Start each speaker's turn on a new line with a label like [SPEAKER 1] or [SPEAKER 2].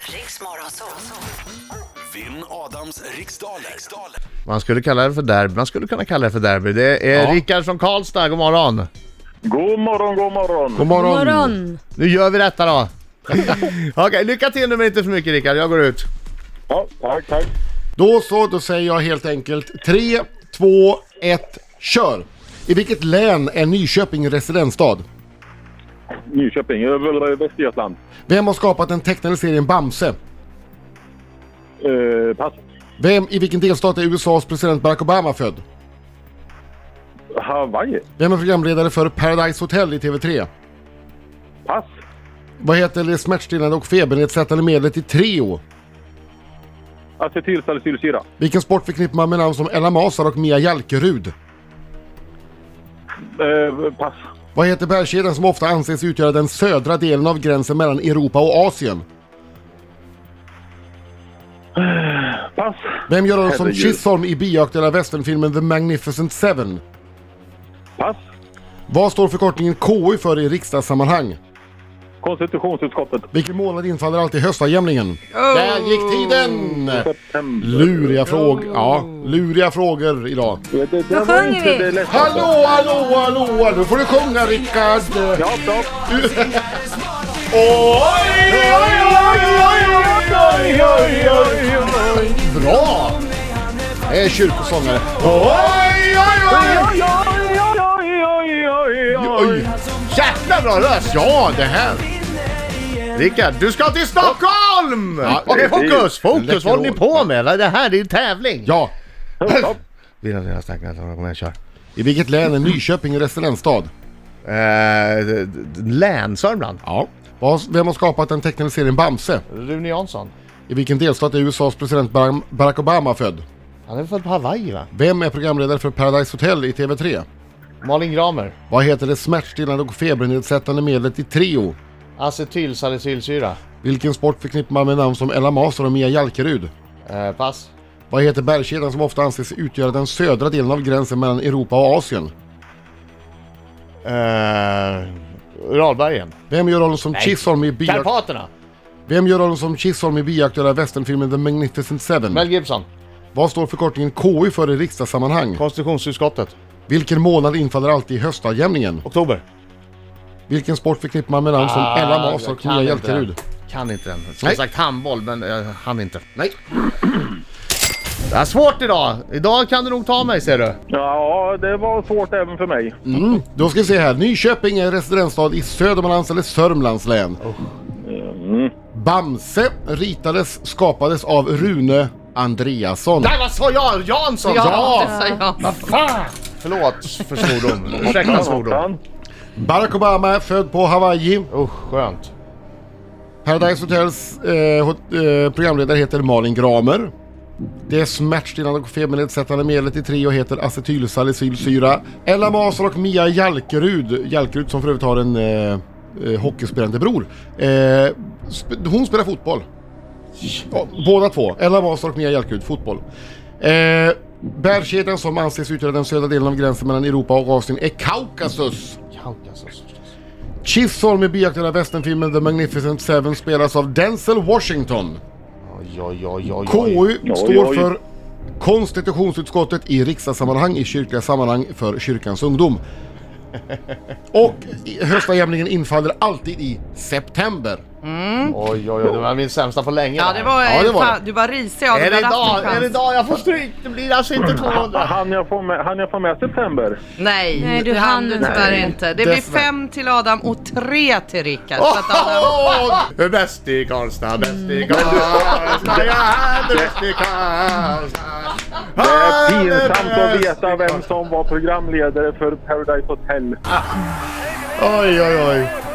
[SPEAKER 1] Riks Morgonzoo.
[SPEAKER 2] Vinn Adams riksdaler. riksdaler.
[SPEAKER 3] Man skulle kalla det för derby, man skulle kunna kalla det för derby. Det är
[SPEAKER 4] Ja.
[SPEAKER 3] Rickard från Karlstad, god morgon.
[SPEAKER 5] God morgon, god morgon.
[SPEAKER 3] God
[SPEAKER 4] morgon.
[SPEAKER 3] Nu gör vi detta då. Okej, lycka till nu men inte för mycket Rickard, jag går ut.
[SPEAKER 5] Ja, tack, tack.
[SPEAKER 4] Då så, då säger jag helt enkelt 3, 2, 1, kör! I vilket län är Nyköping residensstad?
[SPEAKER 5] Nyköping, jag är väl Västergötland.
[SPEAKER 4] Vem har skapat den tecknade serien Bamse?
[SPEAKER 5] Eh, pass.
[SPEAKER 4] Vem i vilken delstat är USAs president Barack Obama född?
[SPEAKER 5] Hawaii.
[SPEAKER 4] Vem är programledare för Paradise Hotel i TV3?
[SPEAKER 5] Pass.
[SPEAKER 4] Vad heter det smärtstillande och febernedsättande medlet i Treo?
[SPEAKER 5] Acetylsalicylsyra.
[SPEAKER 4] Vilken sport förknippar man med namn som Ella Masar och Mia Jalkerud?
[SPEAKER 5] Eh, pass.
[SPEAKER 4] Vad heter bergskedjan som ofta anses utgöra den södra delen av gränsen mellan Europa och Asien?
[SPEAKER 5] Pass.
[SPEAKER 4] Vem gör rollen som
[SPEAKER 5] Herregud.
[SPEAKER 4] Chisholm i bioaktuella västernfilmen The Magnificent Seven?
[SPEAKER 5] Pass.
[SPEAKER 4] Vad står förkortningen KU för i riksdagssammanhang?
[SPEAKER 5] Konstitutionsutskottet.
[SPEAKER 4] Vilken månad infaller alltid höstavjämningen? Där gick tiden!
[SPEAKER 5] September.
[SPEAKER 4] Luriga frågor, ja, luriga frågor idag.
[SPEAKER 5] Det, det, det
[SPEAKER 6] Då
[SPEAKER 5] var
[SPEAKER 6] sjunger
[SPEAKER 5] inte
[SPEAKER 6] vi.
[SPEAKER 5] det lättaste.
[SPEAKER 4] Hallå, hallå, hallå! Nu får du sjunga Rickard!
[SPEAKER 5] Ja, ja.
[SPEAKER 4] Bra! Jag är kyrkosångare. Oj!
[SPEAKER 3] Jäkla bra röst!
[SPEAKER 4] Ja, det här!
[SPEAKER 3] Rickard, du ska till Stockholm!
[SPEAKER 4] Ja,
[SPEAKER 3] Okej, fokus, fokus,
[SPEAKER 4] Läcker
[SPEAKER 3] vad håller ni
[SPEAKER 4] ord.
[SPEAKER 3] på med? Vad är Det här det är ju tävling!
[SPEAKER 4] Ja,
[SPEAKER 5] Ja,
[SPEAKER 3] Dina, dina stackars, kom igen kör.
[SPEAKER 4] i vilket län är Nyköping residensstad?
[SPEAKER 3] Eh, d- d- län, Sörmland.
[SPEAKER 4] Ja. Vad- Vem har skapat den tecknade serien Bamse?
[SPEAKER 3] Rune Jansson.
[SPEAKER 4] I vilken delstat är USAs president Bar- Barack Obama född?
[SPEAKER 3] Han är född på Hawaii va?
[SPEAKER 4] Vem är programledare för Paradise Hotel i TV3?
[SPEAKER 3] Malin Gramer.
[SPEAKER 4] Vad heter det smärtstillande och febernedsättande medlet i Treo?
[SPEAKER 3] Acetylsalicylsyra.
[SPEAKER 4] Vilken sport förknippar man med namn som Ella Masar och Mia Jalkerud?
[SPEAKER 3] Eh, pass.
[SPEAKER 4] Vad heter bergskedjan som ofta anses utgöra den södra delen av gränsen mellan Europa och Asien?
[SPEAKER 3] Eh, Uralbergen.
[SPEAKER 4] Vem gör rollen som Chisholm i bio...
[SPEAKER 3] Karpaterna.
[SPEAKER 4] Vem gör rollen som Chisholm i bioaktuella västernfilmen The Magnificent Seven?
[SPEAKER 3] Mel Gibson.
[SPEAKER 4] Vad står förkortningen KU för i riksdagssammanhang?
[SPEAKER 3] Konstitutionsutskottet.
[SPEAKER 4] Vilken månad infaller alltid i höstavjämningen?
[SPEAKER 3] Oktober.
[SPEAKER 4] Vilken sport förknippar man med namn som
[SPEAKER 3] Ah,
[SPEAKER 4] Ella Masar och
[SPEAKER 3] jag kan
[SPEAKER 4] Mia
[SPEAKER 3] inte den.
[SPEAKER 4] Hjälterud?
[SPEAKER 3] Kan inte den. Som
[SPEAKER 4] Nej.
[SPEAKER 3] sagt handboll, men jag hann inte. Nej. Det är svårt idag. Idag kan du nog ta mig ser du.
[SPEAKER 5] ja, det var svårt även för mig.
[SPEAKER 4] Mm. Då ska vi se här. Nyköping är en residensstad i Södermanlands eller Sörmlands län. Bamse ritades, skapades av Rune Andreasson.
[SPEAKER 3] Nej vad sa jag? Jansson!
[SPEAKER 4] Ja.
[SPEAKER 7] det sa jag.
[SPEAKER 3] Förlåt för svordom. Ursäkta svordom.
[SPEAKER 5] Hoppsan.
[SPEAKER 4] Barack Obama är född på Hawaii.
[SPEAKER 3] Usch, skönt.
[SPEAKER 4] Paradise Hotels eh, hot, eh, programledare heter Malin Gramer. Det smärtstillande och febernedsättande medlet i Trio heter acetylsalicylsyra. Ella Masar och Mia Jalkerud, Jalkerud som för övrigt har en eh, eh, hockeyspelande bror. Eh, sp- hon spelar fotboll. Ja, båda två, Ella Masar och Mia Jalkerud, fotboll. Eh, Bärkedjan som anses utgöra den södra delen av gränsen mellan Europa och Asien är Kaukasus.
[SPEAKER 3] Kaukasus.
[SPEAKER 4] Chisholm i bioaktuella västernfilmen The Magnificent Seven spelas av Denzel Washington.
[SPEAKER 3] Oj, oj, oj, oj.
[SPEAKER 4] KU
[SPEAKER 5] Oj,
[SPEAKER 4] står
[SPEAKER 5] oj.
[SPEAKER 4] för konstitutionsutskottet i riksdagssammanhang, i kyrkliga sammanhang för kyrkans ungdom. Och i- höstavjämningen infaller alltid i september.
[SPEAKER 3] Oj, oj, oj. Det var min sämsta på länge.
[SPEAKER 7] Ja, det var,
[SPEAKER 4] Ja, det var
[SPEAKER 7] fan,
[SPEAKER 4] det.
[SPEAKER 7] Du var risig av
[SPEAKER 3] Är det
[SPEAKER 7] den där
[SPEAKER 3] idag?
[SPEAKER 7] ratten,
[SPEAKER 3] Är det
[SPEAKER 7] chans.
[SPEAKER 3] idag jag får stryk? Det blir alltså inte 200.
[SPEAKER 5] Han jag får med, han jag får med september.
[SPEAKER 7] Nej,
[SPEAKER 6] Nej, du
[SPEAKER 7] det hann du
[SPEAKER 6] hann
[SPEAKER 7] tyvärr
[SPEAKER 6] inte.
[SPEAKER 7] inte. Det blir
[SPEAKER 3] Dessvärre. Oh!
[SPEAKER 7] fem till Adam och tre till Rickard. Så att Adam...
[SPEAKER 3] Åh, Bäst i Karlstad, bäst i Karlstad, jag är bäst i Karlstad.
[SPEAKER 5] Det är pinsamt att veta vem som var programledare för Paradise Hotel.
[SPEAKER 3] Oj, oj, oj.